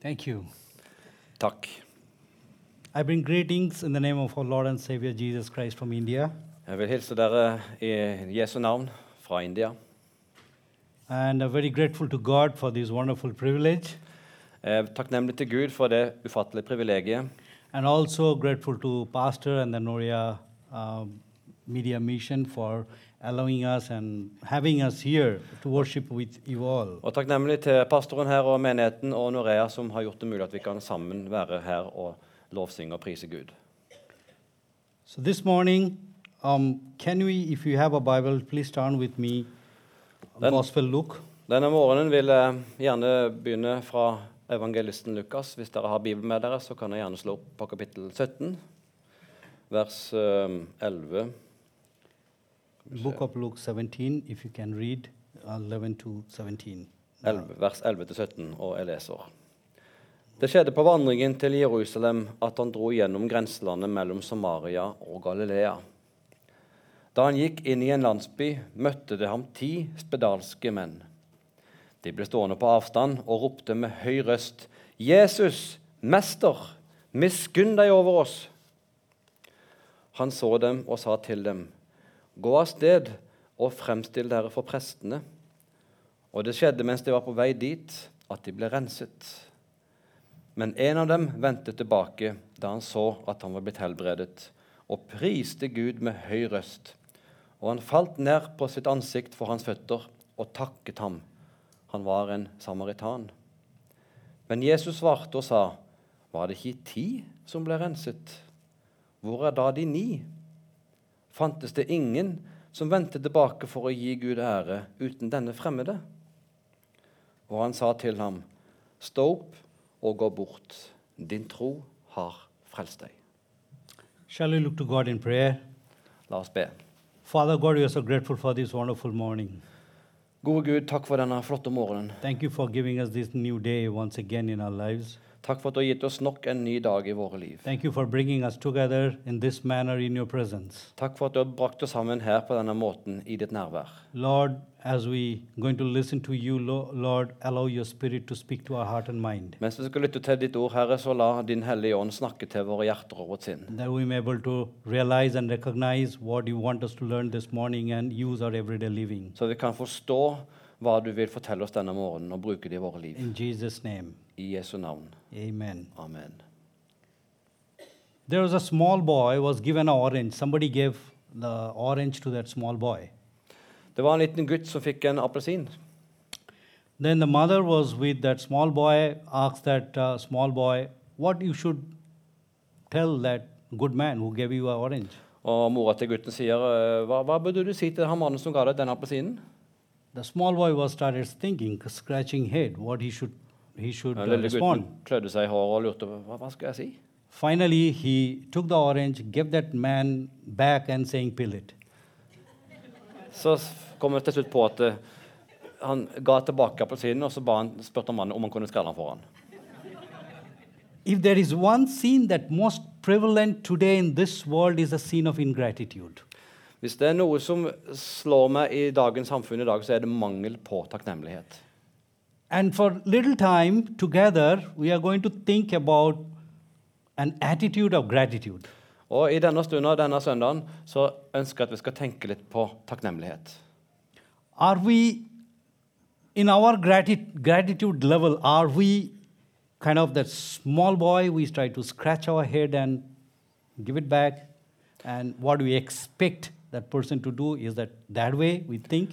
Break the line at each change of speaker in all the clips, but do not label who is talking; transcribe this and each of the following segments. Thank you.
Takk.
I bring greetings in the name of our Lord and Savior Jesus Christ from India.
Jeg vil hilse dere i Jesu navn fra India.
And I'm very grateful to God for this wonderful privilege.
Eh, Takknemlig til Gud for det ufattelige privilegiet.
And also grateful to Pastor and the Noria uh, Media Mission for allowing us and having us here to worship with you all.
Og takknemlig til pastoren her og menigheten og Norea, som har gjort det mulig at vi kan sammen være her og lovsynge og prise Gud.
So this morning, um, can we, if you have a Bible, please turn with me,
Then-
Gospel Luke.
Denne morgenen vil jeg gjerne begynne fra evangelisten Lukas. Hvis dere har Bibelen med dere, så kan jeg gjerne slå opp på kapittel 17, vers eh, 11.
Book of Luke 17, if you can read 11 to 17.
11, vers 11-17, og jeg leser. Det skjedde på vandringen til Jerusalem at han dro gjennom grenselandet mellom Samaria og Galilea. Da han gikk inn i en landsby, møtte det ham ti spedalske menn. De ble stående på avstand og ropte med høy røst, 'Jesus, Mester, miskunn deg over oss!' Han så dem og sa til dem, 'Gå av sted og fremstill dere for prestene.' Og det skjedde mens de var på vei dit, at de ble renset. Men en av dem vendte tilbake da han så at han var blitt helbredet, og priste Gud med høy røst. Og han falt ned på sitt ansikt for hans føtter og takket ham. Han var en samaritan. Men Jesus svarte og sa, var det ikke ti som ble renset? Hvor er da de ni? fantes det ingen som vendte tilbake for å gi Gud ære uten denne fremmede. Og han sa til ham, stå opp og gå bort. Din tro har frelst deg.
Shall we look to God in prayer?
La oss be.
Father God, we are so grateful for this wonderful morning.
Gode Gud, takk for denne flotte morgenen.
Thank you for giving us this new day once again in our lives.
Takk for at du har gitt oss nok en ny dag i våre liv.
Thank you for bringing us together in this manner in your presence.
Takk for at du har brakt oss sammen her på denne måten i ditt nærvær.
Lord, as we going to listen to you, Lo- Lord, allow your spirit to speak to our heart and mind,
Mens vi skal lytte til ditt ord, Herre, så la Din Hellige Ånd snakke til våre hjerter og vårt sinn.
that we may able to realize and recognize what you want us to learn this morning and use our everyday living.
Så vi kan forstå hva du vil fortelle oss denne morgenen, og bruke det i våre liv.
In Jesus' name,
I Jesu navn.
amen.
Amen.
There was a small boy was given an orange. Somebody gave the orange to that small boy.
Det var en liten gutt som fikk en appelsin.
Then the mother was with that small boy, asked that uh, small boy, what you should tell that good man who gave you an orange.
Og mora til gutten sier, «Eh, hva, hva burde du si til han mannen som ga deg den appelsinen?
The small boy was started thinking, scratching head, what he should, he should
Den
uh,
lille gutten
respond.
klødde seg i håret og lurte, hva, hva skal jeg si?
Finally, he took the orange, gave that man back and saying, peel it.
Så s- kom han til slutt på at eh, han ga tilbake appelsinen, og så ba han, spurte han mannen om han kunne skrelle den for han.
If there is one sin that most prevalent today in this world is a sin of ingratitude.
Hvis det er noe som slår meg i dagens samfunn i dag, så er det mangel på takknemlighet.
And for little time together, we are going to think about an attitude of gratitude.
Og i denne stunden, denne søndagen, så ønsker jeg at vi skal tenke litt på takknemlighet.
Are we, in our grati- gratitude level, are we kind of that small boy? We try to scratch our head and give it back. And what we expect that person to do is that that way we think.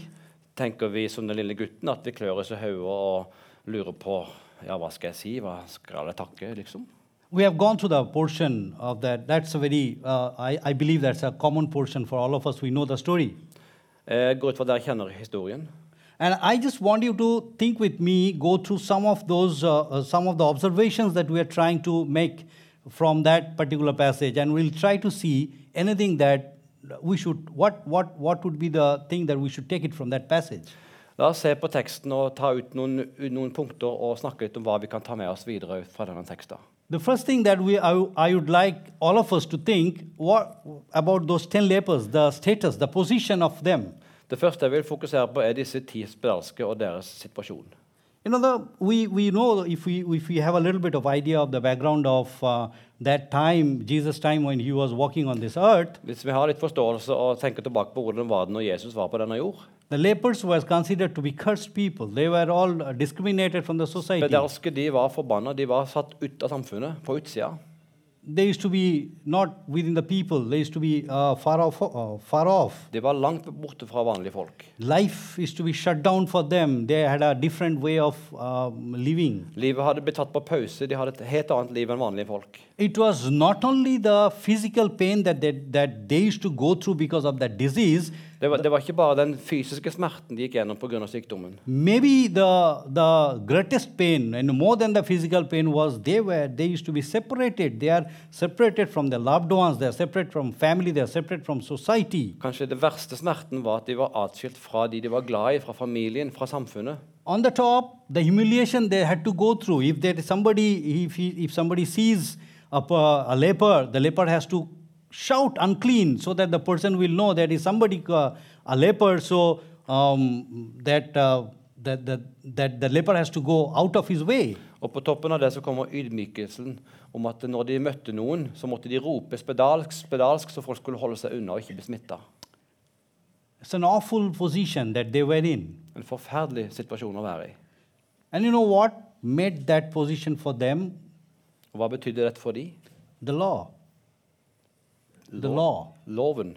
tenker vi som den lille gutten at vi klør oss i hodet og lurer på ja, hva skal jeg si, hva skal jeg takke, liksom.
We have gone through the portion of that. That's a very, uh, I, I believe that's a common portion for all of us. We know the story.
Jeg går Eh, ut fra at dere kjenner historien.
And I just want you to think with me, go through some of those, uh, uh, some of the observations that we are trying to make from that particular passage, and we'll try to see anything that we should, what, what, what would be the thing that we should take it from that passage.
La oss se på teksten og ta ut noen, noen punkter og snakke litt om hva vi kan ta med oss videre ut fra denne teksten.
The first thing that we, I, I would like all of us to think what, about those 10 lepers, the status, the position of them.
Det første jeg vil fokusere på, er disse ti spedalske og deres situasjon.
You know, the, we, we know if we, if we have a little bit of idea of the background of uh, that time, Jesus' time when he was walking on this earth,
Hvis vi har litt forståelse og tenker tilbake på hvordan var det når Jesus var på denne jord
the lepers were considered to be cursed people. They were all uh, discriminated from the society.
Spedalske de var forbanna. De var satt ut av samfunnet, på utsida.
They used to be not within the people, they used to be uh, far, off, uh, far off.
De var langt borte fra vanlige folk.
Life used to be shut down for them. They had a different way of um, living.
Livet hadde blitt tatt på pause. De hadde et helt annet liv enn vanlige folk.
It was not only the physical pain that they, that they used to go through because of that disease,
Det var, det var ikke bare den fysiske smerten de gikk gjennom pga. sykdommen.
maybe the, the greatest pain and more than the physical pain was they were they used to be separated they are separated from their loved ones they are separate from family they are separate from society
Kanskje det verste smerten var at de var atskilt fra de de var glad i, fra familien, fra samfunnet.
on the top the humiliation they had to go through if there is somebody if, he, if somebody sees a, p- a leper the leper has to shout unclean so that the person will know that is somebody uh, a leper so um, that, uh, that, that, that the leper has to go out of his way
Og på toppen av det så kommer ydmykelsen om at når de møtte noen, så måtte de rope 'spedalsk', 'spedalsk', så folk skulle holde seg unna og ikke bli smitta.
It's an awful position that they were in.
En forferdelig situasjon å være i.
And you know what made that position for them?
Og hva betydde dette for de?
The law. The law.
Loven.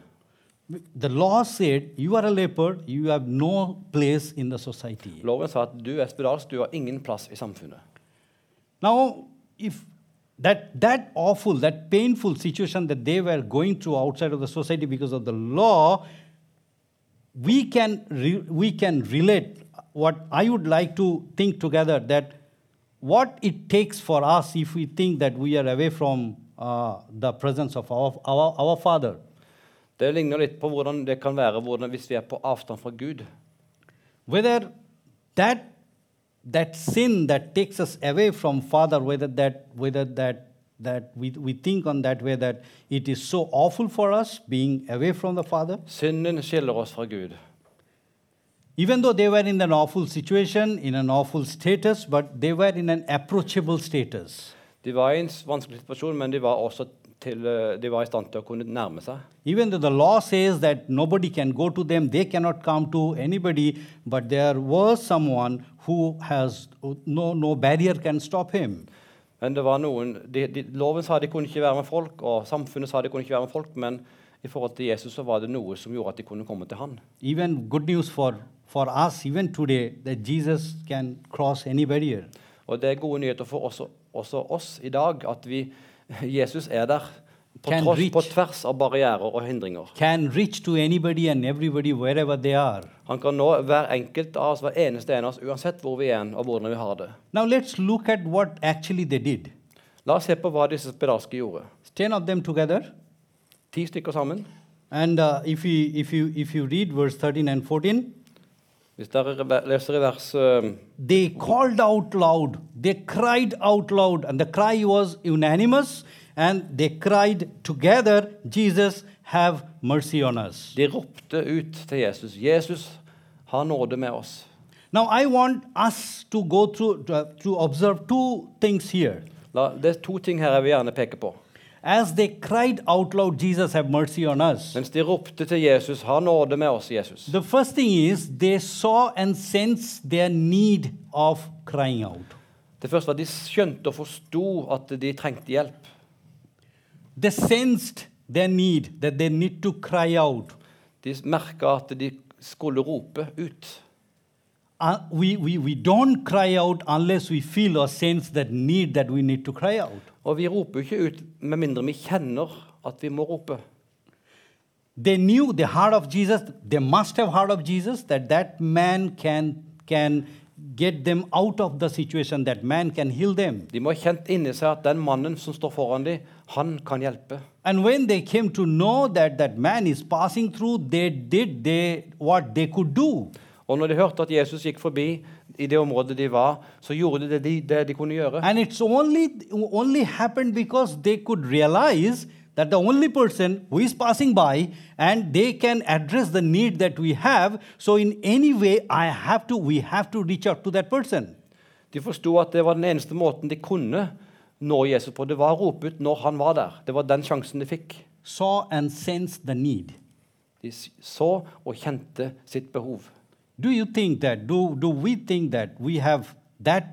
The law said, You are a leper, you have no place in the society.
Loven sa at du er spedalsk, du har ingen plass i samfunnet.
Now, if that, that awful, that painful situation that they were going through outside of the society because of the law, we can, re- we can relate what I would like to think together that what it takes for us if we think that we are away from uh, the presence of our, our, our Father.
Det ligner litt på hvordan det kan være hvordan, hvis vi er på avstand fra Gud.
Whether that, that sin that takes us away from Father, whether that, whether that, that we, we think on that way that it is so awful for us being away from the Father.
Synden skiller oss fra Gud.
Even though they were in an awful situation, in an awful status, but they were in an approachable status.
De var i en s- vanskelig situasjon, men de var også til, eh, de var i stand til å kunne nærme seg.
Even though the law says that nobody can go to them, they cannot come to anybody, but there was someone who has no, no barrier can stop him.
Men det var noen, de, de, Loven sa de kunne ikke være med folk, og samfunnet sa de kunne ikke være med folk, men i forhold til Jesus så var det noe som gjorde at de kunne komme til han.
Even good news for, for us, even today, that Jesus can cross any barrier.
Og det er gode nyheter for også, også oss i dag, at vi, Jesus er der på,
Can
tross,
reach.
på tvers av barrierer og hindringer.
Can reach to anybody and everybody wherever they are.
Han kan nå hver enkelt av oss, hver eneste en av oss, uansett hvor vi er og hvordan vi har det.
Now let's look at what actually they did.
La oss se på hva disse spedalske gjorde.
Ten of them together.
Ti stykker sammen.
And uh, if, you, if, you, if you read verse 13 and 14,
Hvis dere reve- leser i vers eh,
they called out loud they cried out loud and the cry was unanimous and they cried together jesus have mercy on us
De ropte ut til Jesus. 'Jesus, ha nåde med oss.'
now i want us to go through to, to observe two things here
La, det er to ting her jeg vil gjerne peke på.
as they cried out loud jesus have mercy on us
Mens de ropte til Jesus, 'Ha nåde med oss, Jesus',
the first thing is they saw and sensed their need of crying out
Det første var at de skjønte og forsto at de trengte hjelp.
they sensed their need that they need to cry out
De merka at de skulle rope ut.
Uh, we, we, we don't cry out unless we feel or sense that need that we need to cry out.
Og vi roper jo ikke ut med mindre vi kjenner at vi må rope.
They knew the heart of Jesus, they must have heard of Jesus, that that man can, can get them out of the situation, that man can heal them.
De må ha kjent inni seg at den mannen som står foran dem, han kan hjelpe.
And when they came to know that that man is passing through, they did they, what they could do.
Og når de hørte at Jesus gikk forbi i det området de var, så gjorde de det de, det de kunne gjøre.
And it's only, only happened because they could realize that the only person who is passing by and they can address the need that we have. So in any way, I have to, we have to reach out to that person.
De forsto at det var den eneste måten de kunne nå Jesus på. Det var å rope ut når han var der. Det var den sjansen de fikk.
saw and sensed the need.
De s- så og kjente sitt behov.
Do you think that, do, do we think that we have that,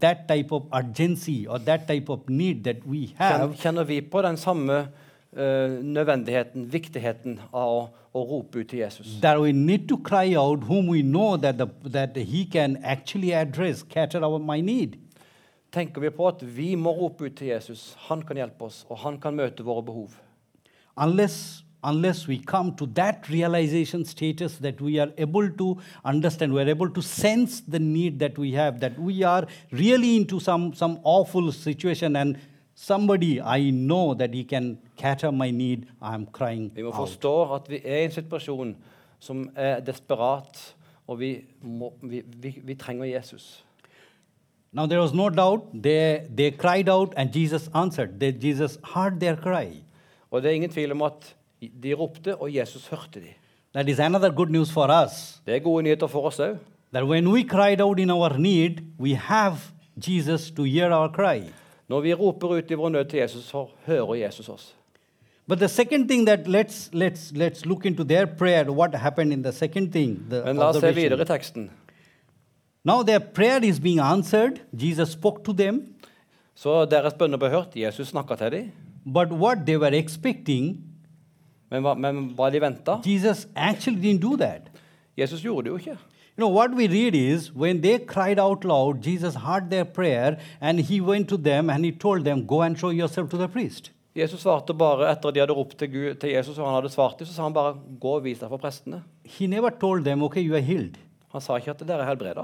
that type of urgency or that type of need that we
Kjenner,
have?
kjenner vi på den samme eh, nødvendigheten, viktigheten av å, å rope ut til Jesus?
That we need to cry out whom we know that, the, that he can actually address, cater our my need.
Tenker vi på at vi må rope ut til Jesus? Han kan hjelpe oss, og han kan møte våre behov.
Unless, unless we come to that realization status that we are able to understand, we are able to sense the need that we have, that we are really into some, some awful situation and somebody I know that he can cater my need, I'm crying
Vi må
out.
forstå at vi er i en situasjon som er desperat, og vi, må, vi, vi, vi trenger Jesus.
Now there was no doubt, they, they cried out and Jesus answered. They, Jesus heard their cry.
Og det er ingen tvil om at de ropte, og Jesus hørte de.
That is another good news for us.
Det er gode nyheter for oss òg.
That when we cried out in our need, we have Jesus to hear our cry.
Når vi roper ut i vår nød til Jesus, så hører Jesus oss.
But the second thing that let's let's let's look into their prayer. What happened in the second thing? The
Men la oss se
observation.
videre i teksten.
Now their prayer is being answered. Jesus spoke to them,
Så deres bønner ble hørt. Jesus snakka til dem.
but what they were expecting,
Men, hva- men hva de venta?
Jesus actually didn't do that.
Jesus gjorde det jo ikke.
You know what we read is when they cried out loud, Jesus heard their prayer and he went to them and he told them, "Go and show yourself to the priest."
Jesus svarte bare etter at de hadde ropt til, Gud, til Jesus, og han hadde svart dem, så sa han bare 'gå og vis deg for prestene'.
He never told them, "Okay, you are healed."
Han sa ikke at dere er helbreda.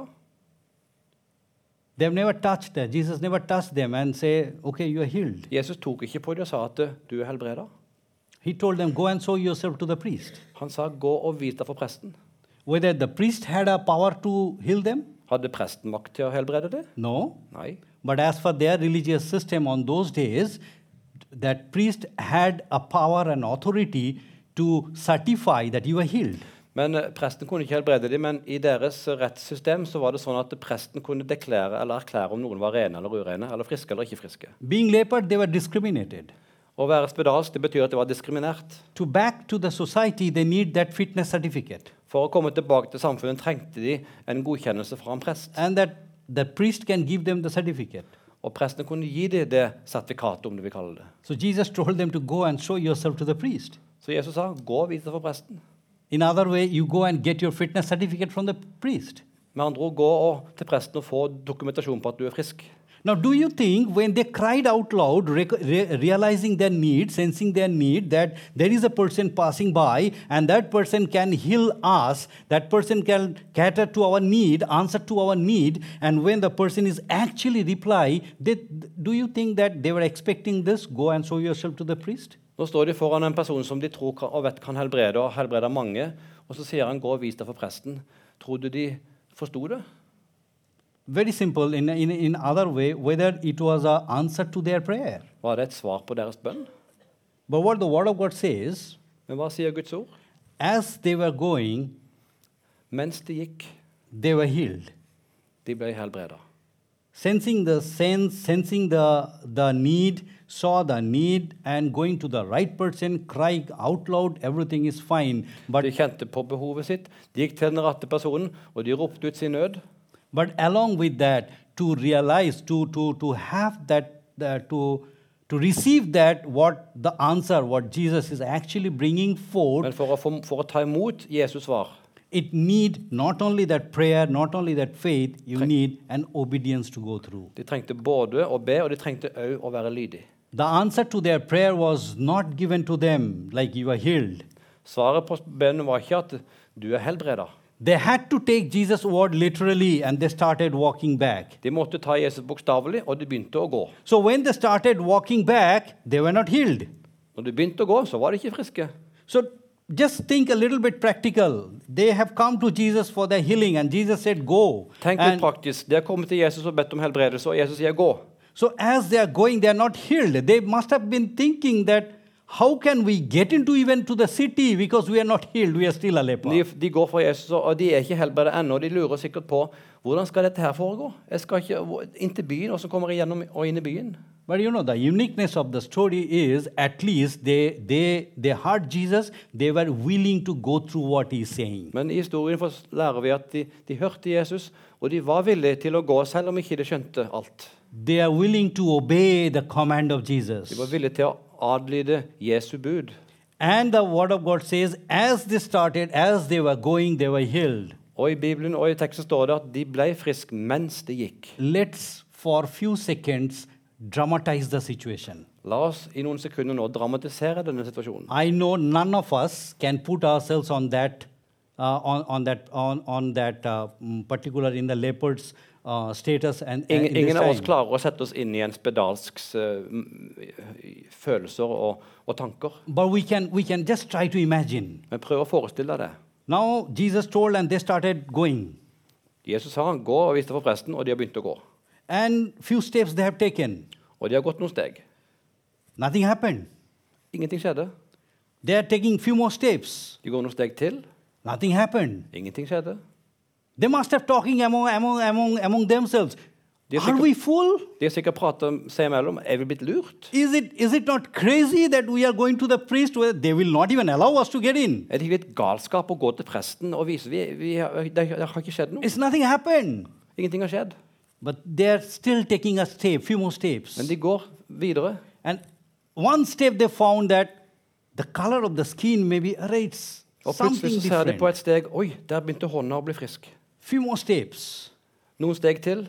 They've never touched that. Jesus never touched them and say, "Okay, you are healed."
Jesus tok ikke på dem og sa at eh, 'du er helbreda'.
He told them, "Go and show yourself to the priest."
Han sa 'gå og vis deg for presten'.
whether the priest had a power to heal them
Hadde presten makt til å helbrede dem?
no
Nei.
but as for their religious system on those days that priest had a power and authority to certify that you were healed
Men eh, Presten kunne ikke helbrede dem, men i deres eh, rettssystem så var det sånn at presten kunne deklare eller erklære om noen var rene eller urene, eller friske eller ikke friske.
being leper they were discriminated
Å være spedalsk det betyr at det var diskriminert.
to back to the society they need that fitness certificate
For å komme tilbake til samfunnet trengte de en godkjennelse fra en prest.
and that the priest can give them the certificate
Og presten kunne gi dem det sertifikatet, om du vil kalle det.
so jesus told them to go and show yourself to the priest
Så Jesus sa 'gå og vis deg for presten'.
in other way you go and get your fitness certificate from the priest
Med andre ord, gå og, til presten og få dokumentasjon på at du er frisk.
Now, do you think when they cried out loud, rec- re- realizing their need, sensing their need, that there is a person passing by and that person can heal us, that person can cater to our need, answer to our need, and when the person is actually reply, they, do you think that they were expecting this? Go and show yourself to the priest?
Nå står de foran en person som de tror kan, og vet kan helbrede, og helbreder mange. Og så sier han 'gå og vis deg for presten'. Tror du de forsto det?
Very simple. In, in, in other way, whether it was an answer to their prayer.
Var det et svar på deres bønn?
But what the Word of God says,
Men hva sier Guds ord?
as they were going,
Mens de gikk,
they were healed.
de ble helbreda.
sensing the sense sensing the the need saw the need and going to the right person crying out loud everything is fine but
De kjente på behovet sitt, de gikk til den rette personen, og de ropte ut sin nød.
but along with that to realize to to to have that uh, to to receive that what the answer what jesus is actually bringing forth
Men for å, få- for å ta imot Jesus svar,
it need not only that prayer not only that faith you need an obedience to go through
de trengte både å be, og de trengte òg å være lydig.
the answer to their prayer was not given to them like you are healed
Svaret på bønnen var ikke at 'du er helbreda'.
They had to take Jesus' word literally and they started walking back.
De måtte ta Jesus bokstavelig, og de begynte å gå.
So when they started walking back, they were not healed.
Når de begynte å gå, så var de ikke friske.
So just think a little bit practical. They have come to Jesus for their healing and Jesus said, Go.
Tenk litt
And
praktisk. De har kommet til Jesus og bedt om helbredelse, og Jesus sier 'gå'.
so as they are going, they are not healed. They must have been thinking that How can we get into even to the city because we are not healed? We are still a leper.
De, de går fra Jesus, og de er ikke helbredet ennå. De lurer sikkert på hvordan skal dette her foregå. Jeg skal ikke hvor- inn til byen, og så kommer jeg gjennom og inn i byen.
But you know, the uniqueness of the story is at least they, they, they heard Jesus, they were willing to go through what he's saying.
Men i historien får- lærer vi at de, de hørte Jesus, og de var villige til å gå, selv om ikke de skjønte alt.
They are willing to obey the command of Jesus.
De var villige til å adlyde Jesu bud.
And the word of God says, as they started, as they were going, they were healed.
Og i Bibelen og i teksten står det at de ble friske mens de gikk.
Let's, for a few seconds, dramatize the situation.
La oss i noen sekunder nå dramatisere denne situasjonen.
I know none of us can put ourselves on that, uh, on, on that, on, on that uh, mm, particular in the leopard's uh, status and and
Ingen,
in this
ingen av oss
time.
klarer å sette oss inn i en spedalsks eh, m- følelser og, og tanker.
But we can, we can just try to imagine.
Men prøv å forestille deg det.
Now, Jesus told, and they started going.
Jesus sa han gå og viste for presten, og de har begynt å gå.
And few steps they have taken,
Og de har gått noen steg.
nothing happened.
Ingenting skjedde.
They are taking few more steps,
De går noen steg til.
nothing happened.
Ingenting skjedde.
They must have talking among, among, among, among themselves.
Do you
Are
think-
we fool?
De har sikkert pratet seg imellom. Er vi blitt lurt?
Is it, is it not crazy that we are going to the priest where they will not even allow us to get in?
Er det ikke litt galskap å gå til presten og vise vi, vi har, Det har ikke skjedd noe.
It's nothing happened.
Ingenting har skjedd.
But they are still taking a step, few more steps.
Men de går videre.
And one step they found that the color of the skin maybe array, it's
Og
something
plutselig så ser de på
different.
et steg Oi, der begynte hånda å bli frisk.
Few more steps.
Noen steg til.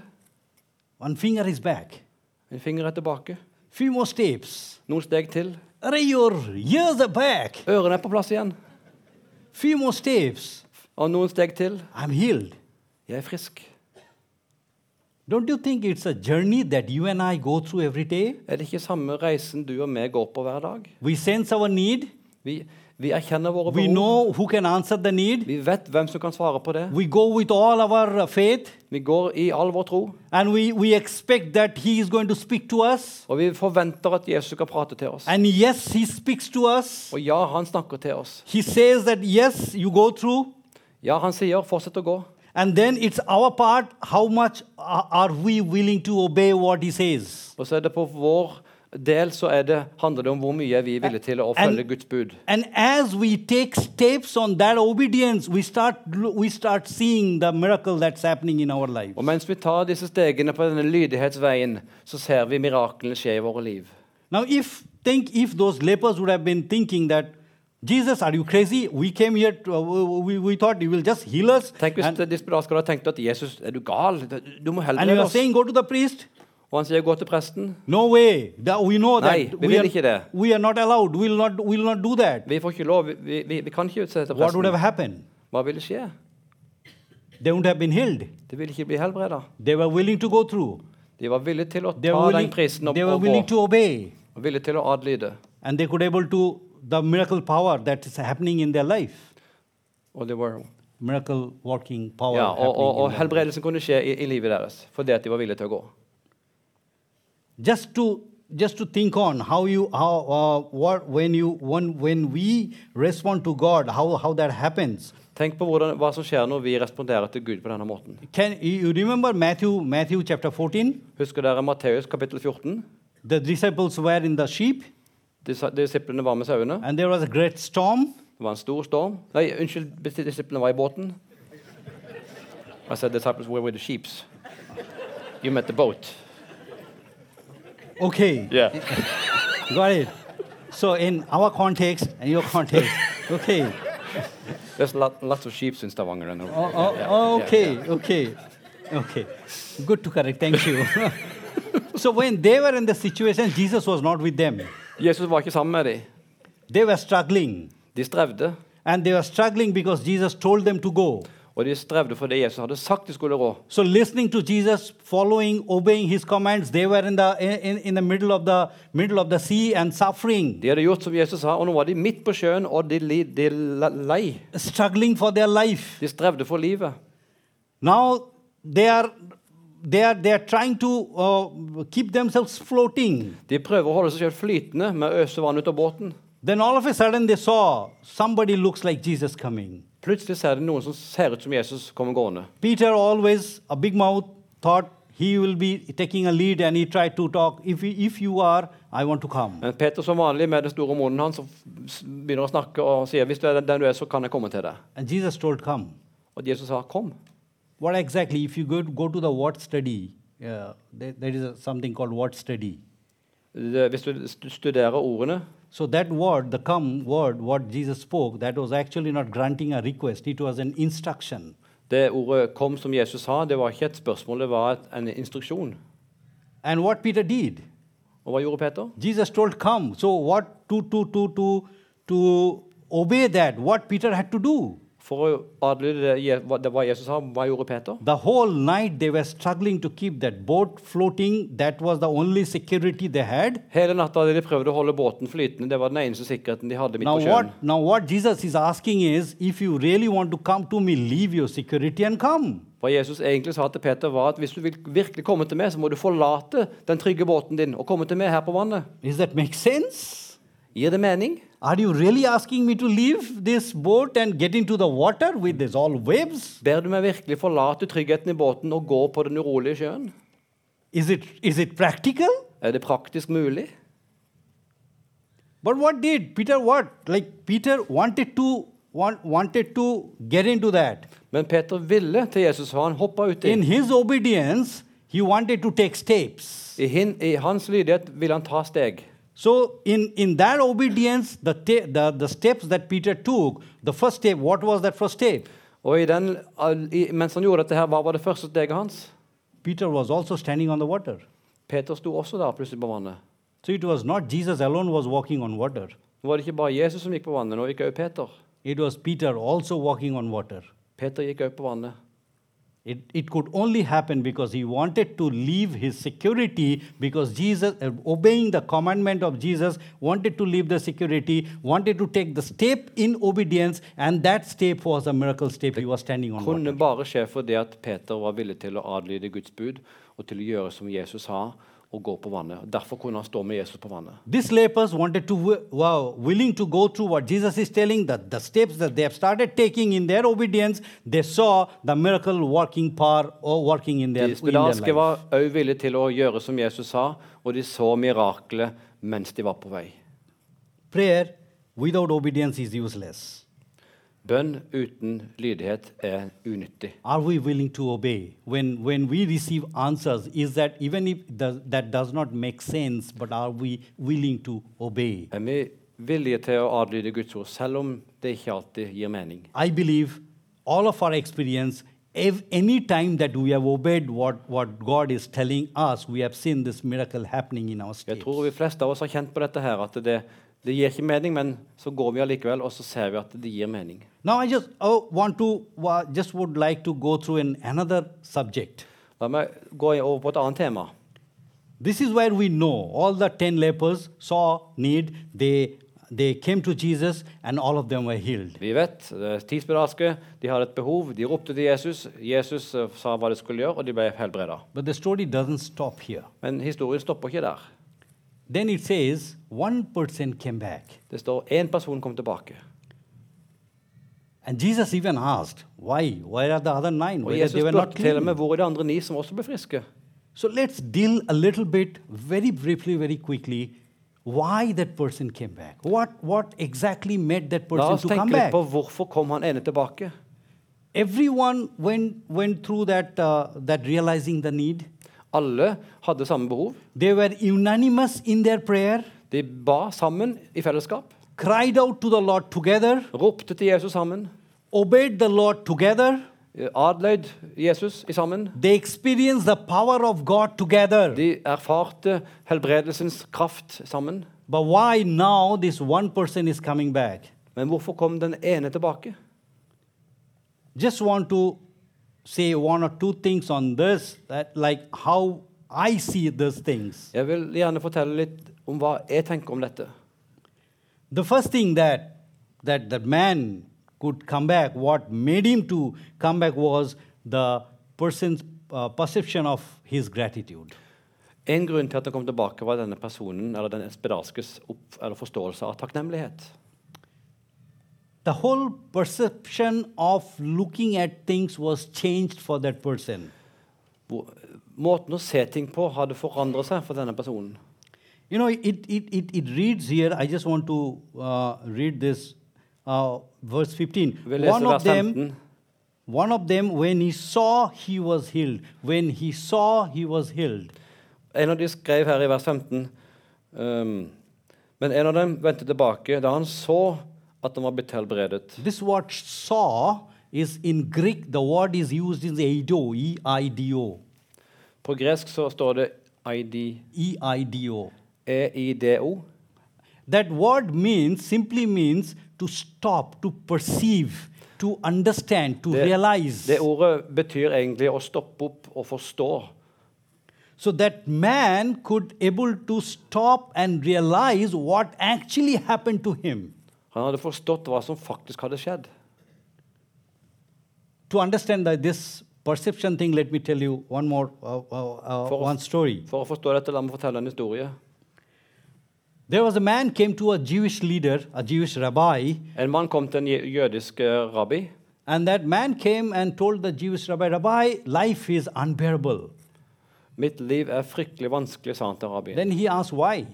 One finger is back.
En finger er tilbake.
Few more steps.
Noen steg til.
Array, your ears are back.
Ørene er på plass igjen.
Few more steps.
Og noen steg til.
I'm healed.
Jeg er frisk.
Don't you think it's a journey that you and I go through every day?
Er det ikke samme reisen du og meg går på hver dag?
We sense our need.
Vi, vi erkjenner våre
We
behov.
know who can answer the need.
Vi vet hvem som kan svare på det.
We go with all our uh, faith
Vi går i all vår tro,
and we, we expect that He is going to speak to us.
og vi forventer at Jesus skal prate til oss.
And yes, He speaks to us.
Og ja, han snakker til oss.
He says that yes, you go through.
Ja, han sier 'fortsett å gå',
And then it's our part how much a- are we willing to obey what He says.
og så er det på vår del så er det, handler det om hvor mye er vi er villige til å
And-
følge Guds bud.
And as we take steps on that obedience, we start, we start seeing the miracle that's happening in our life.
Og mens vi tar disse stegene på denne lydighetsveien, så ser vi miraklene skje i våre liv.
Now, if think if those lepers would have been thinking that, Jesus, are you crazy? We came here, to, uh, we, we thought you will just heal us.
Tenk hvis
And,
de spedalske hadde tenkt at 'Jesus, er du gal? Du må
and you
helbrede
are
oss'.
saying, go to the priest?
Og han sier 'gå til presten'.
No way. That we know
Nei,
that
vi
we
vil
are,
ikke det.
we are not allowed. We will not, we will not do that.
Vi får ikke lov. Vi, vi, vi kan ikke utsette
What would have
presten.
happened?
Hva ville skje?
They would have been healed.
De ville ikke bli helbreda.
They were willing to go through.
De var villige til å
They
ta
were willing,
den prisen opp
they were
og
willing
gå.
to obey.
Og villige til å adlyde.
And they could able to, the miracle power that is happening in their life.
Og, det var,
Miracle working power.
ja, og,
happening
og,
in
og
their life.
helbredelsen kunne skje i, i livet deres fordi at de var villige til å gå.
just to just to think on how you how uh, what when you when when we respond to god how how that happens
Tenk på hvordan, hva som skjer når vi responderer til Gud på denne måten.
can you remember matthew matthew chapter 14
Husker dere Matteus kapittel 14?
the disciples were in the sheep
Dis- Disiplene var med sauene.
and there was a great storm
Det var en stor storm. Nei, unnskyld, dis- disiplene var i båten. I said disciples were with the sheeps. You meant the boat.
okay
Yeah.
got it so in our context and your context okay
There's lot, lots of sheeps in Stavanger. and-
oh, oh,
Yeah,
oh,
yeah,
okay,
yeah.
okay, okay. Good to correct. Thank you. so when they were in the situation, Jesus was not with them.
Jesus var ikke sammen med dem.
They were struggling.
De strevde.
And they were struggling because Jesus told them to go.
Og de strevde fordi Jesus hadde sagt de skulle rå.
So listening to Jesus, following, obeying his commands, they were in the in, in the middle of the middle of the sea and suffering,
De hadde gjort som Jesus sa, og nå var de midt på sjøen, og de, li, de la- lei.
struggling for their life.
De strevde for livet.
Now they are they are they are trying to uh, keep themselves floating.
De prøver å holde seg selv flytende med å øse vann ut av båten.
Then all of a sudden they saw somebody looks like Jesus coming.
Plutselig ser de noen som ser ut som Jesus kommer gående.
Peter, always a big mouth, thought he will be taking a lead and he tried to talk. If, you- if you are, I want to come.
Men Peter som vanlig med den store munnen hans så s- begynner å snakke og sier hvis du er den du er, så kan jeg komme til deg.
And Jesus told, Come.
Og Jesus sa kom.
What exactly? If you go, go to the word study, yeah, there, there is a, something called word study.
Det- Hvis du st- studerer ordene
So that word, the come word, what Jesus spoke, that was actually not granting a request, it was an instruction.
Det ordet 'kom' som Jesus sa, det var ikke et spørsmål, det var et, en instruksjon.
And what Peter did,
Og hva gjorde Peter?
Jesus told come. So what to to to to to obey that, what Peter had to do.
For å adlyde det, Je- hva- det hva Jesus sa, hva gjorde Peter?
The whole night they were struggling to keep that boat floating. That was the only security they had.
Hele natta hadde de prøvd å holde båten flytende. Det var den eneste sikkerheten de hadde midt
now
på sjøen.
what now what Jesus is asking is if you really want to come to me, leave your security and come.
Hva Jesus egentlig sa til Peter, var at hvis du vil virkelig komme til meg, så må du forlate den trygge båten din og komme til meg her på vannet.
Does that make sense?
Gir det mening?
Are you really asking me to leave this boat and get into the water with this all waves?
Ber du meg virkelig forlate tryggheten i båten og gå på den urolige sjøen?
Is it is it practical?
Er det praktisk mulig?
But what did Peter what? Like Peter wanted to want, wanted to get into that.
Men Peter ville til Jesus, for han hoppa uti.
In his obedience, he wanted to take steps.
I, hin, I hans lydighet ville han ta steg.
So in, in that obedience, the, ta- the the steps that Peter took, the first step, what was that first step?
Og i den, al- i, mens han gjorde dette, her, hva var det første steget hans?
Peter was also standing on the water.
Peter sto også der plutselig på vannet.
So it was not Jesus alone was walking on water.
Nå var det ikke bare Jesus som gikk på vannet, nå gikk også Peter.
It was Peter also walking on water.
Peter gikk også på vannet.
It, it could only happen because he wanted to leave his security because Jesus, uh, obeying the commandment of Jesus, wanted to leave the security, wanted to take the step in obedience, and that step was a miracle step. He was standing on water.
Kunne bare skje fordi at Peter var villig til å adlyde Guds bud og til å gjøre som Jesus sa, og gå på vannet. Derfor kunne han stå med Jesus på vannet.
This lepers wanted to, wi- wow, willing to go through what Jesus is telling, that the steps that they have started taking in their obedience, they saw the miracle working power or working in their,
De
in their life.
spedalske var også villige til å gjøre som Jesus sa, og de så miraklet mens de var på vei.
Prayer without obedience is useless.
Bønn uten lydighet er unyttig.
are we willing to obey when when we receive answers is that even if does, that does not make sense but are we willing to obey
Er vi villige til å adlyde Guds ord, selv om det ikke alltid gir mening?
i believe all of our experience if any time that we have obeyed what what god is telling us we have seen this miracle happening in our
Jeg
state
tror vi fleste av oss har kjent på dette her, at det, det gir ikke mening, men så går vi allikevel, og så ser vi at det gir mening.
now i just oh, want to wa- just would like to go through an, another subject
La meg gå over på et annet tema.
This is where we know all the 10 lepers saw need, they, they came to Jesus, and all of them were healed.
Vi vet, det er ti spedalske, de hadde et behov, de ropte til Jesus. Jesus eh, sa hva de skulle gjøre, og de ble helbreda.
But the story doesn't stop here.
Men historien stopper ikke der.
Then it says one person came back.
Det står én person kom tilbake.
And Jesus even asked, Why? Where are the other nine?
Og
Whether
Oh, Jesus
they were not
spurte til og med
clean.
hvor er de andre ni som også ble friske.
So let's deal a little bit, very briefly, very quickly, why that person came back. What, what exactly made that
La
person
oss
to
tenke
come back?
litt på hvorfor kom han ene tilbake.
Everyone went, went through that, uh, that realizing the need.
Alle hadde samme behov.
They were unanimous in their prayer,
De ba sammen i fellesskap.
cried out to the Lord together,
Ropte til Jesus sammen.
obeyed the Lord together.
eh, Adløyd Jesus i sammen.
They experienced the power of God together.
De erfarte helbredelsens kraft sammen.
But why now this one person is coming back?
Men hvorfor kom den ene tilbake?
Just want to say one or two things on this, that like how I see these things.
Jeg vil gjerne fortelle litt om hva jeg tenker om dette.
The first thing that that that man could come back, what made him to come back was the person's uh, perception of his gratitude.
En grunn til at han kom tilbake, var denne personen, eller den spedalskes opp, eller forståelse av takknemlighet.
The whole perception of looking at things was changed for that person.
Hvor, måten å se ting på hadde forandret seg for denne personen.
You know, it, it, it, it reads here, I just want to uh, read this, uh, verse 15.
Vi leser
One of
vers
them,
15.
one of them, when he saw, he was healed. When he saw, he was healed.
En av de skrev her i vers 15 ehm, Men en av dem vendte tilbake da han så at han var blitt helbredet.
This word saw is in Greek, the word is used in E the eido, E-I-D-O,
På gresk så står det E ID,
E E-I-D-O.
EIDO.
That word means, simply means to stop, to perceive, to understand, to
Det-
realize.
Det ordet betyr egentlig å stoppe opp og forstå.
so that man could able to stop and realize what actually happened to him
Han hadde forstått hva som faktisk hadde skjedd.
to understand that this perception thing let me tell you one more uh, uh, uh,
For-
one story
For å forstå dette, la meg fortelle en historie.
there was a man came to a jewish leader a jewish rabbi
En mann kom til en jø- jødisk eh, rabbi.
and that man came and told the jewish rabbi rabbi life is unbearable
'Mitt liv er fryktelig vanskelig', sa han til rabbien.
then he asked why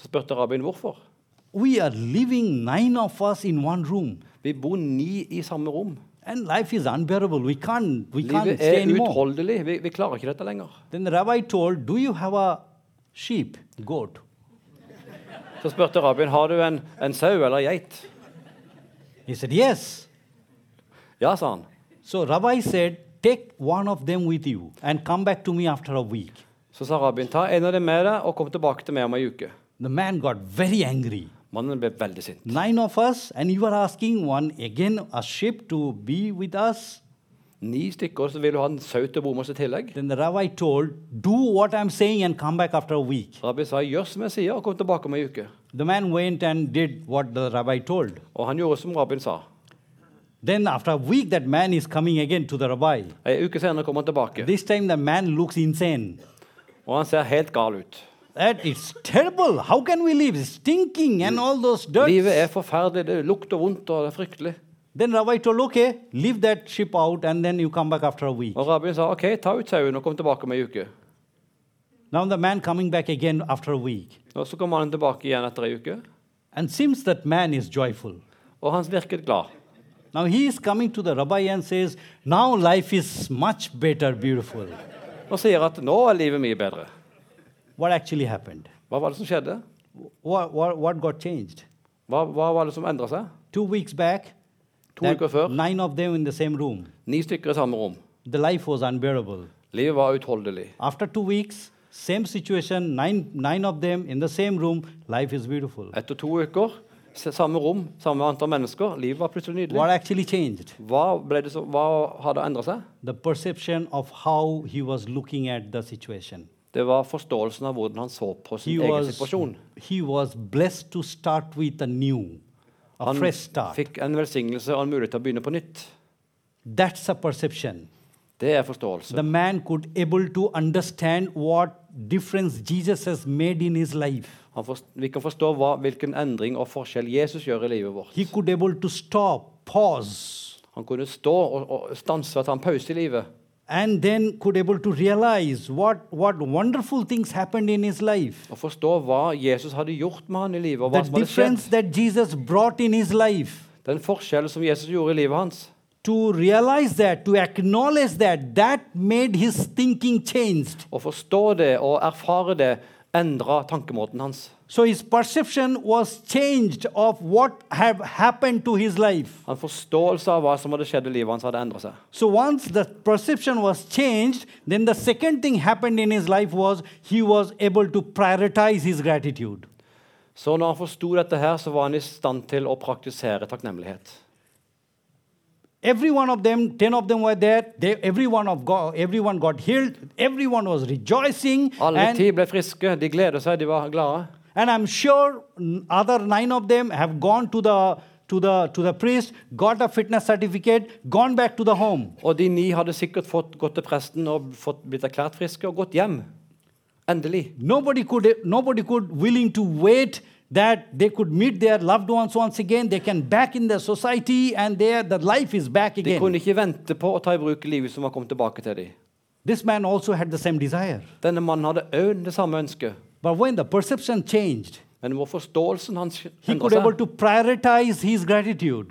Så spurte rabbien hvorfor.
we are living nine of us in one room
Vi bor ni i samme rom.
and life is unbearable we can't we can't
Livet
stay
er
anymore
uutholdelig. Vi, vi klarer ikke dette lenger.
Then the rabbi told, Do you have a sheep, goat?
Så spurte rabbien har du en, en sau eller geit.
He said, Yes.
Ja, sa han.
So rabbi said, Take one of them with you and come back to me after a week.
Så sa rabbien ta en av dem med deg og kom tilbake til meg om ei uke.
The man got very angry.
Mannen ble veldig sint.
Nine of us, and you are asking one again, a sheep to be with us.
Ni stykker, så vil du ha en sau til å bo med oss i tillegg.
Then the rabbi told, Do what I'm saying and come back after a week.
Rabbien sa gjør som jeg sier og kom tilbake om ei uke.
The man went and did what the rabbi told.
Og han gjorde som rabbien sa.
Then after a week, that man is coming again to the rabbi.
Ei uke senere kom han tilbake,
This time, the man looks insane.
og han ser helt gal ut.
That is terrible. How can we live? Stinking and all those
Livet
dirt.
er forferdelig, det lukter vondt og det er fryktelig.
Then Rabbi told, okay, leave that ship out and then you come back after a week.
Og rabbien sa OK, ta ut sauen og kom tilbake om ei uke.
Now the man coming back again after a week.
Og så kom han tilbake igjen etter ei uke,
And seems that man is joyful.
og han virket glad.
Now he is coming to the rabbi and says, now life is much better, beautiful.
Og sier at 'nå er livet mye bedre'.
What actually happened?
Hva var det som skjedde?
What, what, what got changed?
Hva, hva var det som endra seg?
Two weeks back,
To
that
uker før.
nine of them in the same room.
Ni stykker i samme rom.
The life was unbearable.
Livet var utholdelig.
After two weeks, same situation, nine, nine of them in the same room, life is beautiful.
Etter to uker, s- samme rom, samme antall mennesker. Livet var plutselig nydelig.
What actually changed?
Hva, ble det som, hva hadde endra seg?
The perception of how he was looking at the situation.
Det var forståelsen av hvordan han så på
He
sin egen
was,
situasjon.
he was blessed to start with a new, a
Han
fresh start.
fikk en velsignelse og en mulighet til å begynne på nytt.
That's a perception.
Det er forståelse.
The man could able to understand what difference Jesus has made in his life.
Han forst- vi kan forstå hva, hvilken endring og forskjell Jesus gjør i livet vårt.
He could able to stop, pause,
Han kunne stå og, og stanse og ta en pause i livet.
and then could able to realize what, what wonderful things happened in his life.
Og forstå hva Jesus hadde gjort med han i livet, og
The
hva som hadde skjedd.
difference that Jesus brought in his life.
Den forskjellen som Jesus gjorde i livet hans.
To realize that, to acknowledge that, that made his thinking changed.
Å forstå det og erfare det endra tankemåten hans.
So his perception was changed of what have happened to his life.
Han forståelse av hva som hadde skjedd i livet hans, hadde endra seg.
So once the perception was changed, then the second thing happened in his life was he was able to prioritize his gratitude.
Så når han forsto dette her, så var han i stand til å praktisere takknemlighet.
Every one of them, 10 of them were there. They, every one of go, everyone got healed. Everyone was rejoicing.
Alle
and,
ti ble friske, de gleda seg, de var glade.
and I'm sure n- other nine of them have gone to the, to, the, to the priest, got a fitness certificate, gone back to the home.
Og de ni hadde sikkert fått gått til presten og fått, blitt erklært friske og gått hjem. Endelig.
Nobody could, nobody could willing to wait that they could meet their loved ones once again. They can back in their society and their the life is back
De
again.
kunne ikke vente på å ta i bruk livet som var kommet tilbake til dem.
This man also had the same desire.
Denne mannen hadde òg det samme ønsket.
But when the perception changed,
Men hvor forståelsen hans
he
endret
could able
seg,
to prioritize his gratitude.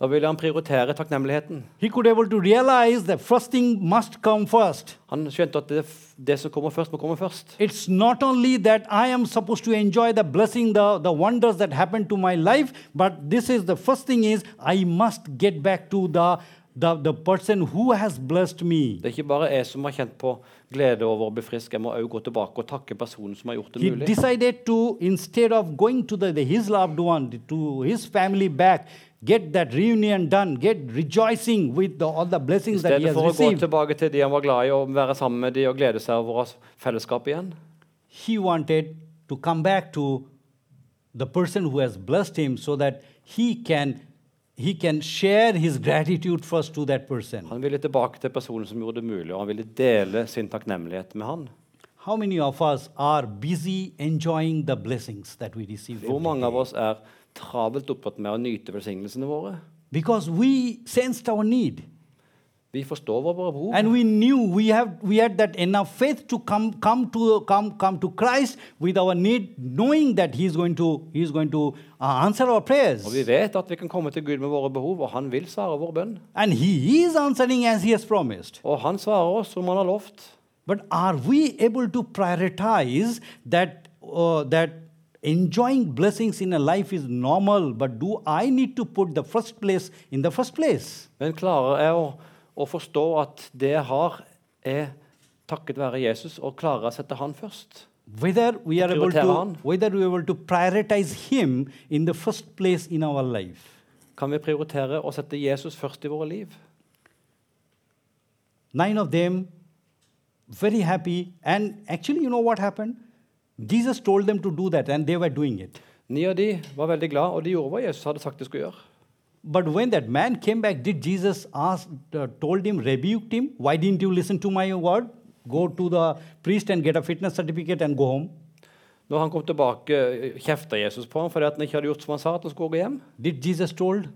da ville han prioritere takknemligheten.
He could able to realize that first thing must come first.
Han skjønte at det, det som kommer først, må komme først.
It's not only that I am supposed to enjoy the blessing, the, the wonders that happen to my life, but this is the first thing is I must get back to the, the, the person who has blessed me.
Det er ikke bare jeg som har kjent på glede over å bli frisk. Jeg må òg gå tilbake og takke personen som har gjort det
He
mulig.
decided to, instead of going to the, the- his loved one, to his family back, get that reunion done, get rejoicing with the, all the
I
blessings that he
stedet
has
for å gå
received.
tilbake til de han var glad i, og være sammen med de og glede seg over oss fellesskap igjen.
He wanted to come back to the person who has blessed him so that he can, he can share his gratitude first to that person.
Han ville tilbake til personen som gjorde det mulig, og han ville dele sin takknemlighet med han.
How many of us are busy enjoying the blessings that we receive?
Hvor
every
mange
day?
av oss er travelt opptatt med å nyte velsignelsene våre?
Because we sensed our need.
Vi forstår våre behov.
and we knew we have we had that enough faith to come come to come come to christ with our need knowing that he's going to he's going to uh, answer our prayers
Og vi vet at vi kan komme til Gud med våre behov, og han vil svare vår bønn.
and he is answering as he has promised
Og han svarer oss som han har lovt.
but are we able to prioritize that uh, that enjoying blessings in a life is normal but do i need to put the first place in the first place
Men klarer jeg å, å forstå at det jeg har, er takket være Jesus, og klarer jeg å sette han først?
whether we are able
Prioritere han.
to whether we are able to prioritize him in the first place in our life
Kan vi prioritere å sette Jesus først i våre liv?
nine of them very happy and actually you know what happened jesus told them to do that and they were doing it
Ni av de var veldig glad, og de gjorde hva Jesus hadde sagt de skulle gjøre.
but when that man came back did jesus ask uh, told him rebuked him why didn't you listen to my word go to the priest and get a fitness certificate and go home
Når han kom tilbake, kjefta Jesus på ham fordi at han ikke hadde gjort som han sa, at han skulle gå hjem.
did jesus told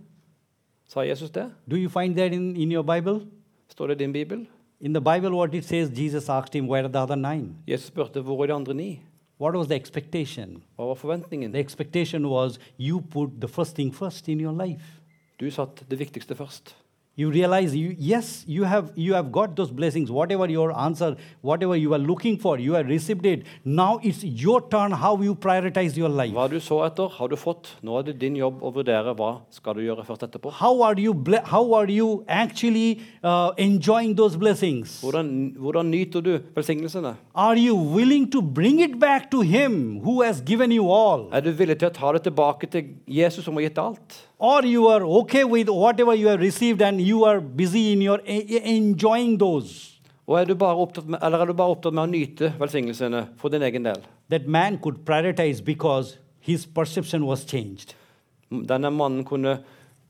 Sa Jesus det?
do you find that in, in your bible
Står det i din bibel?
in the bible what it says jesus asked him where are the other nine
Jesus spurte hvor er de andre ni?
what was the expectation
Hva var forventningen?
the expectation was you put the first thing first in your life
Du satte det viktigste først.
you realize you yes you have you have got those blessings whatever your answer whatever you are looking for you have received it now it's your turn how you prioritize your life
Hva du så etter, har du fått. Nå er det din jobb å vurdere hva skal du gjøre først etterpå.
how are you ble- how are you actually uh, enjoying those blessings
Hvordan, hvordan nyter du velsignelsene?
are you willing to bring it back to him who has given you all
Er du villig til å ta det tilbake til Jesus som har gitt deg alt?
or you are okay with whatever you have received and you are busy in your e- e- enjoying those
Og er du bare opptatt med, eller er du bare opptatt med å nyte velsignelsene for din egen del?
that man could prioritize because his perception was changed
Denne mannen kunne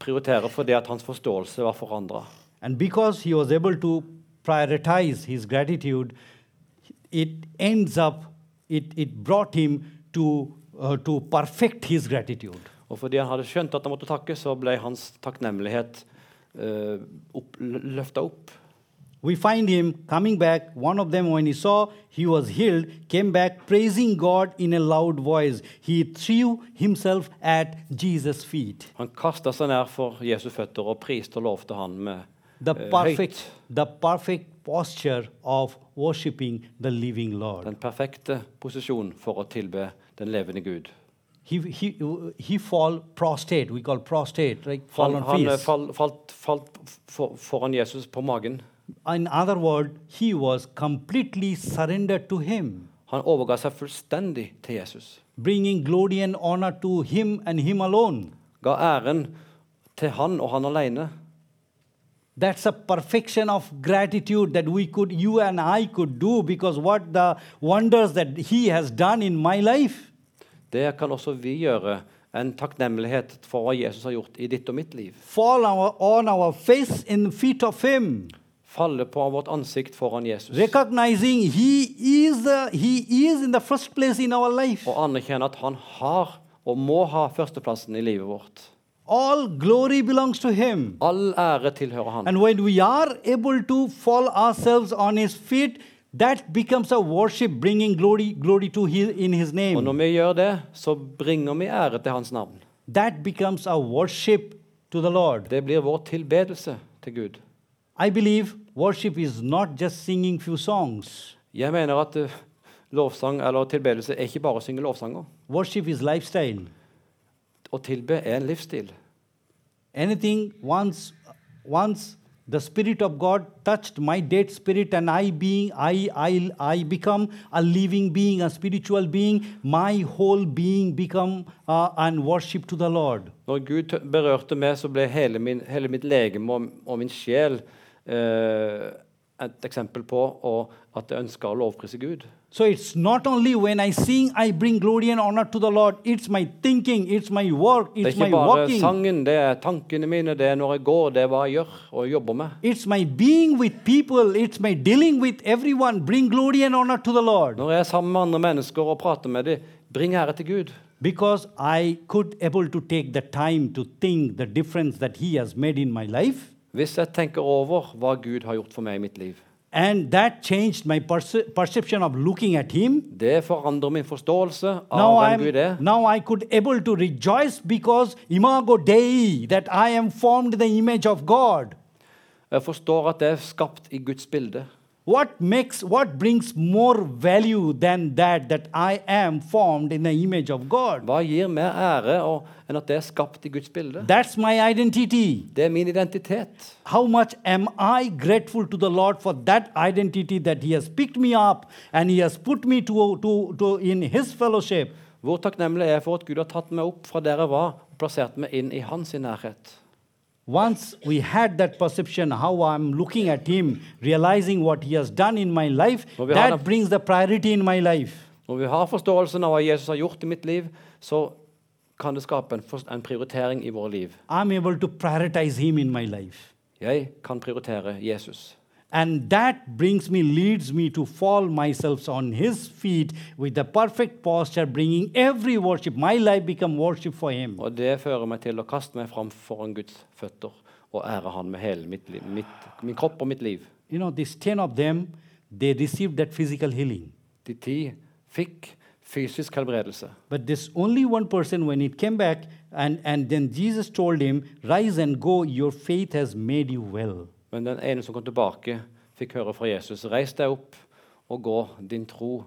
prioritere fordi at hans forståelse var forandra.
And because he was able to prioritize his gratitude, it ends up, it, it brought him to, uh, to perfect his gratitude.
Og fordi han hadde skjønt at han måtte takke, så ble hans takknemlighet eh, opp, løfta opp.
We find him coming back. One of them, when he saw he was healed, came back praising God in a loud voice. He threw himself at Jesus' feet.
Han kasta seg ned for Jesus' føtter og priste og lovte han med
The
eh,
perfect,
høyt.
the perfect posture of worshiping the living Lord.
Den perfekte posisjon for å tilbe den levende Gud.
He, he, he fall prostrate. We call prostrate, like fall
Han,
on
han eh,
face.
fall, falt, falt for, foran Jesus på magen.
In other words, he was completely surrendered to him,
Han overga seg fullstendig til Jesus.
bringing glory and honor to him and him alone.
Ga æren til han og han aleine.
That's a perfection of gratitude that we could, you and I could do because what the wonders that he has done in my life.
Det kan også vi gjøre. En takknemlighet for hva Jesus har gjort i ditt og mitt liv.
Fall our, on our face in the feet of him.
falle på vårt ansikt foran Jesus
recognizing he is the, he is in the first place in our life
og anerkjenne at han har og må ha førsteplassen i livet vårt.
all glory belongs to him
All ære tilhører han.
and when we are able to fall ourselves on his feet that becomes a worship bringing glory glory to his in his
Og
name
når vi gjør det, så bringer vi ære til hans navn.
that becomes a worship to the lord
Det blir vår tilbedelse til Gud.
i believe worship is not just singing few songs
Jeg mener at eh, lovsang eller tilbedelse er ikke bare å synge lovsanger.
worship is lifestyle
Å tilbe er en livsstil.
anything once once the spirit of god touched my dead spirit and i being i i i become a living being a spiritual being my whole being become uh, and worship to the lord
Når Gud tø- berørte meg, så ble hele, min, hele mitt legeme og, og min sjel eh, et eksempel på og, at jeg ønsker å lovprise Gud.
so it's not only when i sing i bring glory and honor to the lord it's my thinking it's my work
Det er
it's my
ikke bare
walking
sangen, det er tankene mine, det er når jeg går, det er hva jeg gjør og jobber med.
it's my being with people it's my dealing with everyone bring glory and honor to the lord
Når jeg er sammen med andre mennesker og prater med dem, bring ære til Gud.
because i could able to take the time to think the difference that he has made in my life
Hvis jeg tenker over hva Gud har gjort for meg i mitt liv,
and that changed my perce- perception of looking at him
det forandrer min forståelse av
now
hvem
i'm
Gud er.
now i could able to rejoice because imago dei that i am formed in the image of god
Jeg forstår at jeg er skapt i Guds bilde.
what makes what brings more value than that that i am formed in the image of god
Hva gir mer ære og- enn at jeg er skapt i Guds bilde?
that's my identity
Det er min identitet.
How much am I grateful to the Lord for that identity that He has picked me up and He has put me to, to, to in His fellowship?
Hvor takknemlig er jeg for at Gud har tatt meg opp fra der jeg var, og plassert meg inn i hans sin nærhet.
Once we had that perception, how I'm looking at Him, realizing what He has done in my life,
Well, we had
that
a-
brings the priority in my life.
Når vi har forståelsen av hva Jesus har gjort i mitt liv, så kan det skape en, fors- en prioritering i våre liv.
I'm able to prioritize Him in my life.
Jeg kan prioritere Jesus.
And that brings me, leads me to fall myself on His feet with the perfect posture, bringing every worship, my life become worship for Him.
Og det fører meg til å kaste meg fram foran Guds føtter og ære Han med hele mitt liv, mitt, min kropp og mitt liv.
You know, these 10 of them, they received that physical healing.
De ti fikk fysisk helbredelse.
But this only one person, when it came back, and, and then Jesus told him, Rise and go, your faith has made you well.
Men den ene som kom tilbake, fikk høre fra Jesus, reis deg opp og gå, din tro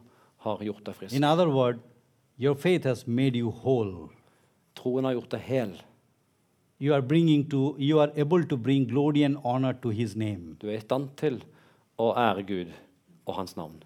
har gjort deg frisk.
In other words, your faith has made you whole.
Troen har gjort deg hel.
You are, bringing to, you are able to bring glory and honor to his name.
Du er i stand til å ære Gud og Hans navn.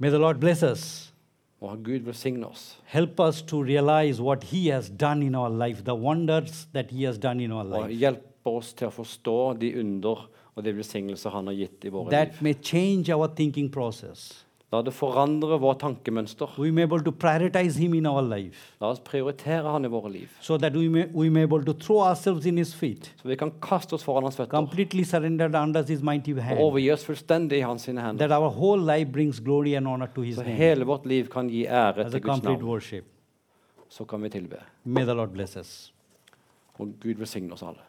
May the Lord bless us.
Og Gud velsigne oss
Help us to realize what he has done in our life, the wonders that he has done in our
og
life.
hjelpe oss til å forstå de under og de velsignelser Han har gitt i våre liv.
That may change our thinking process.
La det forandre vårt tankemønster.
We may be able to prioritize him in our life.
La oss prioritere Han i våre liv,
so that we may, we may able to throw ourselves in his feet
så vi kan kaste oss foran Hans føtter
completely surrendered under his mighty
og
hand
overgi oss fullstendig i Hans sine hender.
that our whole life brings glory and honor to his
Så
name
hele vårt liv kan gi ære
as a
til Guds
complete
navn.
worship
Så kan vi tilbe.
may the lord bless us
Og Gud velsigne oss alle.